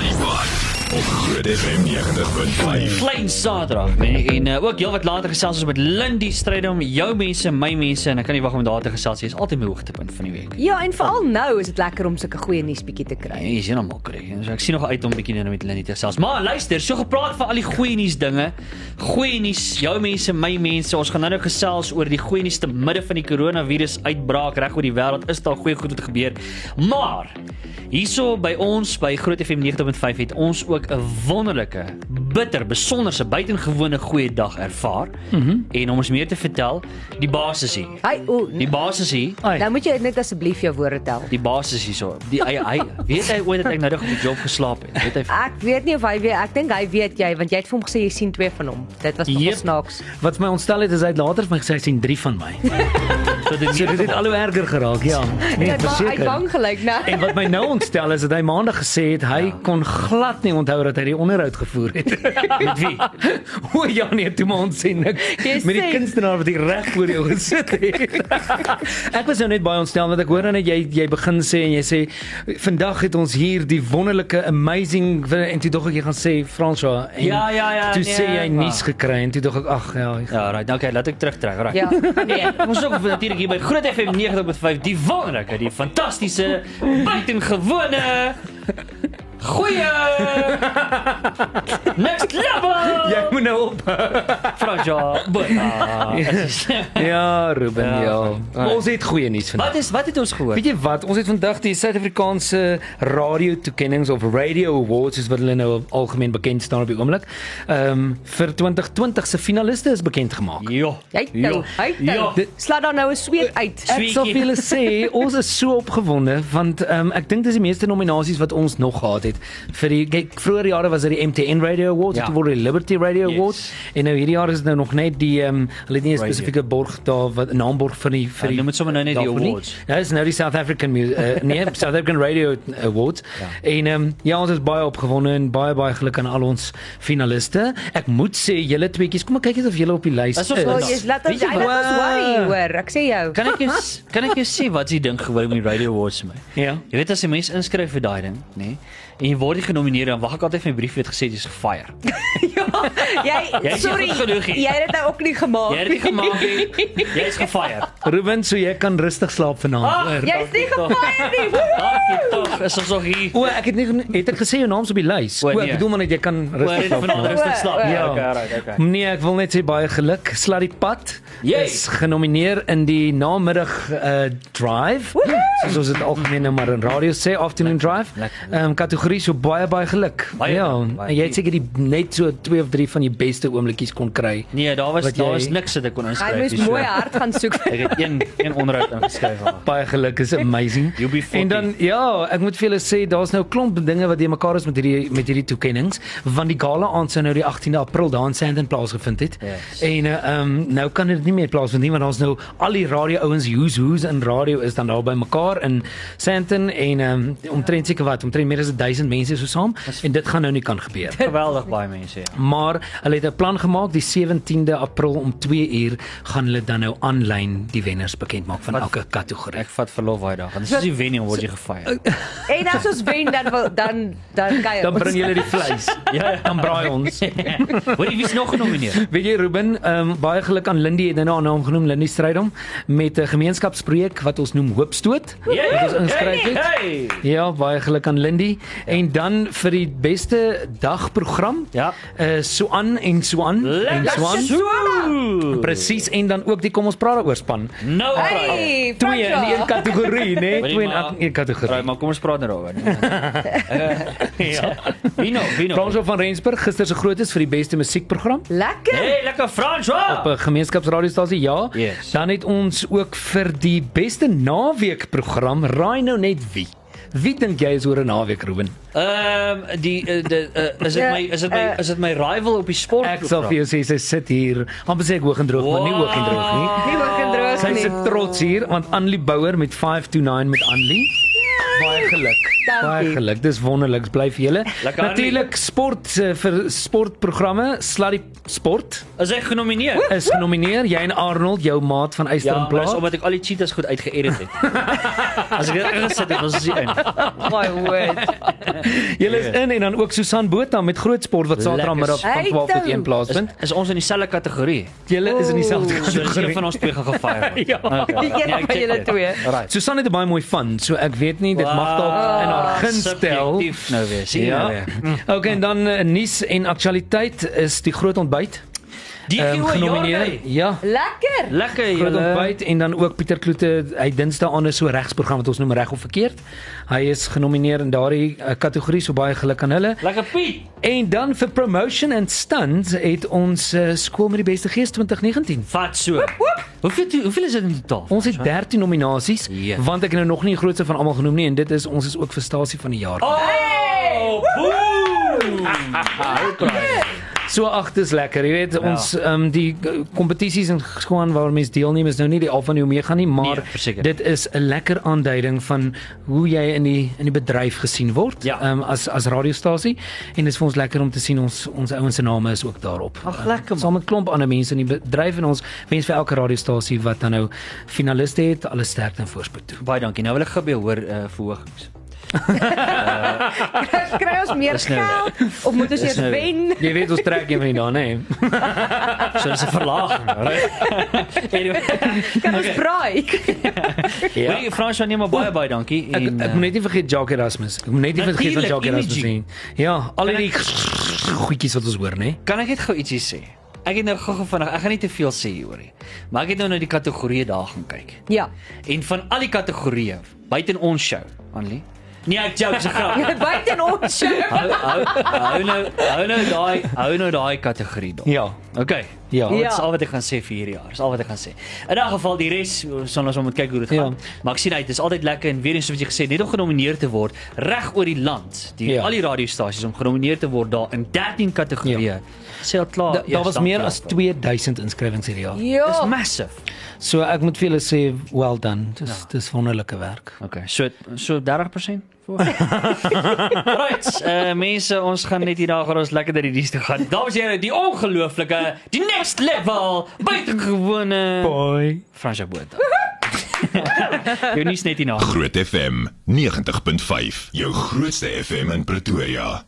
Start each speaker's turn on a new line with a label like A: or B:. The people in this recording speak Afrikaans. A: Slypot op Groot FM 90.5.
B: Klein Saterdag, nee, en uh, ook heelwat later gesels ons met Lindy Strydom, jou mense, my mense en ek kan nie wag om daar te gesels nie. Is altyd my hoogtepunt van die week.
C: Ja, en veral nou is dit lekker om sulke goeie nuus bietjie te kry.
B: Jy sien hom al kry. So ek sien nog uit om bietjie nou met Lindy te gesels. Maar luister, so gepraat van al die goeie nuus dinge. Goeie nuus, jou mense, my mense. Ons gaan nou nou gesels oor die goeie nuus te midde van die koronavirus uitbraak reg oor die wêreld. Is daar goeie goed wat gebeur? Maar hierso by ons by Groot FM 90.5 het ons ook 'n wonderlike, bitter, besonderse, buitengewone goeie dag ervaar. Mm -hmm. En om ons meer te vertel, die baas is hier.
C: Hy o,
B: Die baas is hier.
C: nou moet jy net asseblief jou woorde tel.
B: Die baas is hierso. Die hy, hy weet hy ooit dat ek nou nog op die job geslaap het. Weet hy?
C: Ek weet nie of hy weet, ek dink hy weet jy want jy het vir hom gesê jy sien twee van hom. Dit was nogal
D: Jep.
C: snaaks.
D: Wat my ontstel het is hy het later vir my gesê hy sien 3 van my.
B: Dat dit
D: So dit het al hoe erger geraak, ja. Nee,
C: Hy het ba- hy het bang
D: verseker.
C: gelyk, né?
D: En wat my nou ontstel is dat hy maandag gesê het hy ja. kon glad nie onthou dat hy die onderhoud gevoer het. Met wie? O ja nee, toe maar ons sien niks.
C: Jy
D: Met die
C: sê-
D: kunstenaar wat hier reg voor jou gesit het. ek was nou net baie ontstel want ek hoor net jy jy begin sê en jy sê vandag het ons hier die wonderlike amazing en toe dog ek jy gaan sê François en
B: Ja, ja, ja,
D: Toe
B: nee,
D: sê jy
B: maar-
D: nuus gekry en toe dog ek ag ja,
B: Ja, right. Okay, laat ek terugtrek. Right.
C: Ja. Nee.
B: Ons is ook natuurlik hier by Groot FM 90.5, die wonderlike, die fantastiese, buitengewone goeie next level.
D: Jy moet nou op.
B: Franja. Ah, Bona.
D: Ja, Ruben,
B: Ja.
D: ja. ja. Maar Ons het goeie nuus vandag.
B: Wat is wat het ons gehoor?
D: Weet jy wat? Ons het vandag die Suid-Afrikaanse radio toekenninge of radio awards soos wat hulle nou algemeen bekend staan op die oomblik. Ehm um, vir 2020 se finaliste is bekend gemaak.
B: Jo.
C: Hy tel,
B: Ja.
C: hy tel.
D: Dit-
C: Slaat dan nou 'n sweet uit.
D: Ek sal
B: Tweekie.
D: vir julle sê, ons is so opgewonde want ehm um, ek dink dis die meeste nominasies wat ons nog gehad het. Vir die kyk, vroeër jare was dit die MTN Radio Awards,
B: Ja.
D: ja. dit word die Liberty Radio
B: Yes.
D: yes. Awards en nou hierdie jaar is dit nou nog net die ehm um, hulle het nie 'n
B: Radio.
D: spesifieke borg daar wat 'n naamborg vir die vir
B: Ja,
D: die
B: noem het sommer nou net die
D: daarvoor nie.
B: awards.
D: Ja, dis nou die South African Music uh, nee, South African Radio Awards. Ja. En ehm um, ja, ons is baie opgewonde en baie baie geluk aan al ons finaliste. Ek moet sê julle tweeetjies, kom ek kyk eens of julle op die lys is.
B: Asof
C: O,
B: ons-
C: jy's laat ons
B: Weet jy
C: hy was
D: wat?
C: worry hoor. Ek sê jou.
B: Kan ek jou s- kan ek jou sê wat is die ding gewoon met die Radio Awards vir my?
D: Ja.
B: Jy weet as 'n mens inskryf vir daai ding, nê? Nee, en jy word nie genomineer dan wag ek altyd vir my brief wat gesê jy's gefire. Jy
C: Jy
B: is
C: sorry.
B: goed genoeg hier.
C: Jy het dit nou ook nie gemaak.
B: Jy het dit gemaak nie. Jy's gefire.
D: Ruben, so jy kan rustig slaap vanaand. hoor.
C: Jy's nie gefire nie. woehoe.
B: Dankie tog. Is ons nog hier?
D: O, ek het nie het ek gesê jou naam is op die lys.
B: O,
D: O,
B: nee.
D: ek bedoel maar net jy kan
B: Oor
D: rustig
B: vanaand
D: slaap.
B: rustig slaap.
C: o.
B: Ja,
D: Ja.
B: okay, alright, okay.
D: Nee, ek wil net sê baie geluk. Slat die pad
B: Yay.
D: is genomineer in die namiddag uh drive. Soos ons dit algemeen nou maar in radio sê afternoon drive.
B: lekker,
D: Ehm um, kategorie so baie baie geluk.
B: Baie
D: ja,
B: dankie, baie
D: en jy het seker die net so 2 of 3 van die beste oomblikkies kon kry.
B: Nee, daar was
D: Wat
B: daar
D: jy-
B: is niks wat ek kon
C: Hy
B: inskryf.
C: moes
B: hier, so.
C: mooi hard gaan soek.
B: Ek het een een onderhoud ingeskryf al.
D: Baie geluk is amazing.
B: You'll be 40.
D: En dan ja, ek moet vir julle sê daar's nou 'n klomp dinge wat die mekaar is met hierdie met hierdie toekenninge want die gala aand sou nou die 18de April daar in Sandton plaasgevind het.
B: Yes.
D: En uh, um, nou kan dit nie meer plaasvind nie want daar's nou al die radio ouens who's who's in radio is dan daar by mekaar in Sandton en um, omtrent seker wat omtrent meer as 1000 mense so saam en dit gaan nou nie kan gebeur.
B: Geweldig baie mense. ja.
D: Maar hulle het 'n plan gemaak die 17de April om 2 uur gaan hulle dan nou aanlyn die wenners bekend maak van
B: Wat-
D: elke kategorie.
B: Ek vat verlof daai dag. Want Dis is die wen en word jy gefire.
C: En as ons wen dan wil dan dan kan jy.
D: Dan bring julle die vleis.
B: Ja, ja.
D: Dan braai ons.
B: Hoor jy wie's nog genomineer?
D: Weet jy Ruben, ehm um, baie geluk aan Lindy het nou na haar naam genoem, Lindy Strydom met 'n gemeenskapsprojek wat ons noem Hoopstoot. Wat ons inskryf het.
B: Hey.
D: Ja, baie geluk aan Lindy. En dan vir die beste dagprogram.
B: Ja.
D: Eh uh, Suan en Suan en Suan.
B: Swan.
D: Presies en dan ook die kom ons praat daaroor span.
B: Nou. Hey.
C: Hey,
D: Twee in
C: Fransjo.
D: een kategorie, né? Nee? Twee in
B: maar-
D: een kategorie.
B: Right, maar kom ons praat nou daaroor. Ja. Wie nou? Wie nou?
D: Franso van Rensburg gister se grootes vir die beste musiekprogram.
C: Lekker.
B: Hey, lekker
D: op eh. 'n
B: François.
D: gemeenskapsradiostasie ja.
B: Yes.
D: Dan het ons ook vir die beste naweekprogram raai nou net wie. Wie dink jy is oor 'n naweek Ruben?
B: Ehm die eh, de- eh, is dit my is dit my is dit my rival op die sport?
D: Ek sal vir jou sê sy sit hier. Amper sê ek hoog en droog, wow. maar nie hoog en droog nie.
C: Nie ook in droog
D: Sy
C: nie.
D: sit trots hier want Annelie Bouwer met 529 met Annelie baie geluk.
C: Dankie.
D: Baie geluk. Dis wonderlik. Bly vir julle.
B: Lekker, Annie.
D: Natuurlik sport eh, vir sportprogramme, Sluddy Sport
B: Is hy genomineer?
D: is genomineer. Jy en Arnold, jou maat van
B: Ja, maar dis
D: Eysterplaas.
B: omdat ek al die cheetahs goed uitgeëdit het. As ek dit ingesit het, was dit in.
C: My word.
D: Julle is in en dan ook Susan Botha met groot sport wat Saterdagmiddag van
C: Hey,
D: 12 tot 1
C: toe.
B: Is,
D: plaasvind.
B: is ons in dieselfde kategorie.
D: Julle is in dieselfde
B: So dis een
D: kategorie.
B: van ons twee gaan gefaai word.
D: Ja.
B: Okay.
C: Die
B: ek
C: een van
B: check
C: julle
B: dit.
C: twee.
B: Alright.
D: Susan het 'n baie mooi van, so ek weet nie dit mag dalk in haar gunstel.
B: Ah, Subjectief nou weer. Sien ja.
D: Ja.
B: nou weer.
D: Okay, en dan uh, nuus en aktualiteit is die groot ontbyt
B: Die
D: ehm,
B: um, genomineer.
D: Ja.
C: Lekker.
B: Lekker
D: Groot
B: julle.
D: ontbyt en dan ook Pieter Kloete, hy Dinsdae aan is so regsprogram wat ons noem reg of verkeerd. Hy is genomineer in daardie uh, kategorie, so baie geluk aan hulle.
B: Lekker Piet.
D: En dan vir promotion and stunts het ons uh, skool met die beste gees 2019.
B: Vat so. Hoeveel hoeveel is dit in totaal?
D: Ons het 13 nominasies,
B: Ja.
D: want ek het nou nog nie die grootste van almal genoem nie en dit is ons is ook verstasie van die jaar.
B: Oh, boom! Ah,
D: So ag dis lekker. Jy
B: Ja.
D: weet ons ehm um, die eh, kompetisies en skoon waar mense deelneem is nou nie die al van die omega nie, maar
B: Nee, verseker.
D: dit is 'n lekker aanduiding van hoe jy in die in die bedryf gesien word
B: Ja.
D: ehm, as as radiostasie en dit is vir ons lekker om te sien ons ons ouens se name is ook daarop. Ehm,
B: Ag, lekker, man.
D: Saam met klomp ander mense in die bedryf en ons wens vir elke radiostasie wat dan nou finaliste het, alle sterkte en voorspoed toe.
B: Baie dankie. Nou wil ek gou hoor uh, verhogings.
C: Kry ons meer
B: Dis nou-
C: geld of moet ons
B: Dis
C: eers
B: nou-
C: wen?
D: Jy weet ons trek een van die dae, nê?
B: So dis 'n verlaging, right? anyway,
C: Kan ons braai?
B: ja. Hey Frans, nee, maar baie baie dankie
D: Ek,
B: en
D: ek
B: eh,
D: moet net nie vergeet Jacques Erasmus. Ek moet net nie vergeet van
B: Natuurlijk,
D: Jacques Erasmus nie.
B: Imogene.
D: Ja, al
B: En
D: die goedjies wat ons hoor, nê?
B: Kan ek net gou ietsie sê? Ek het nou gou-gou vinnig, ek gaan nie te veel sê hieroor nie. Maar ek het nou nou die kategorieë daar gaan kyk.
C: Ja.
B: En van al die kategorieë buite ons show, Annelie. Nee, ek joke se grap.
C: Buite ons show.
B: Hou hou hou nou hou nou daai hou nou daai kategorie dop.
D: Ja.
B: Okay.
D: Ja.
B: Dit is
C: Ja.
B: al wat ek gaan sê vir hierdie jaar. Dis al wat ek gaan sê. In 'n geval die res sal ons om moet kyk hoe dit
D: Ja.
B: gaan. Maar ek sien uit, dit is altyd lekker en weer eens soos wat jy gesê het, net om genomineer te word reg oor die land, die
D: Ja.
B: al die radiostasies om genomineer te word daar in 13 kategorieë.
D: Ja.
B: Sê al klaar.
D: Da, daar
B: eers
D: was
B: dan
D: meer
B: klaar.
D: as 2000 inskrywings hierdie jaar.
B: Dis
C: Ja.
B: massive.
D: So ek moet vir julle sê, well done. Dis ja. dis wonderlike werk.
B: Okay, so so 30% voor. right, uh, mense, ons gaan net hierna gaan ons lekker deur die diens toe gaan. Dames en here, die ongelooflike, die next level eh, buitengewone
D: Boy.
B: Fransja Botha. Jy nuus net hierna.
A: Groot FM 90.5, jou grootste FM in Pretoria.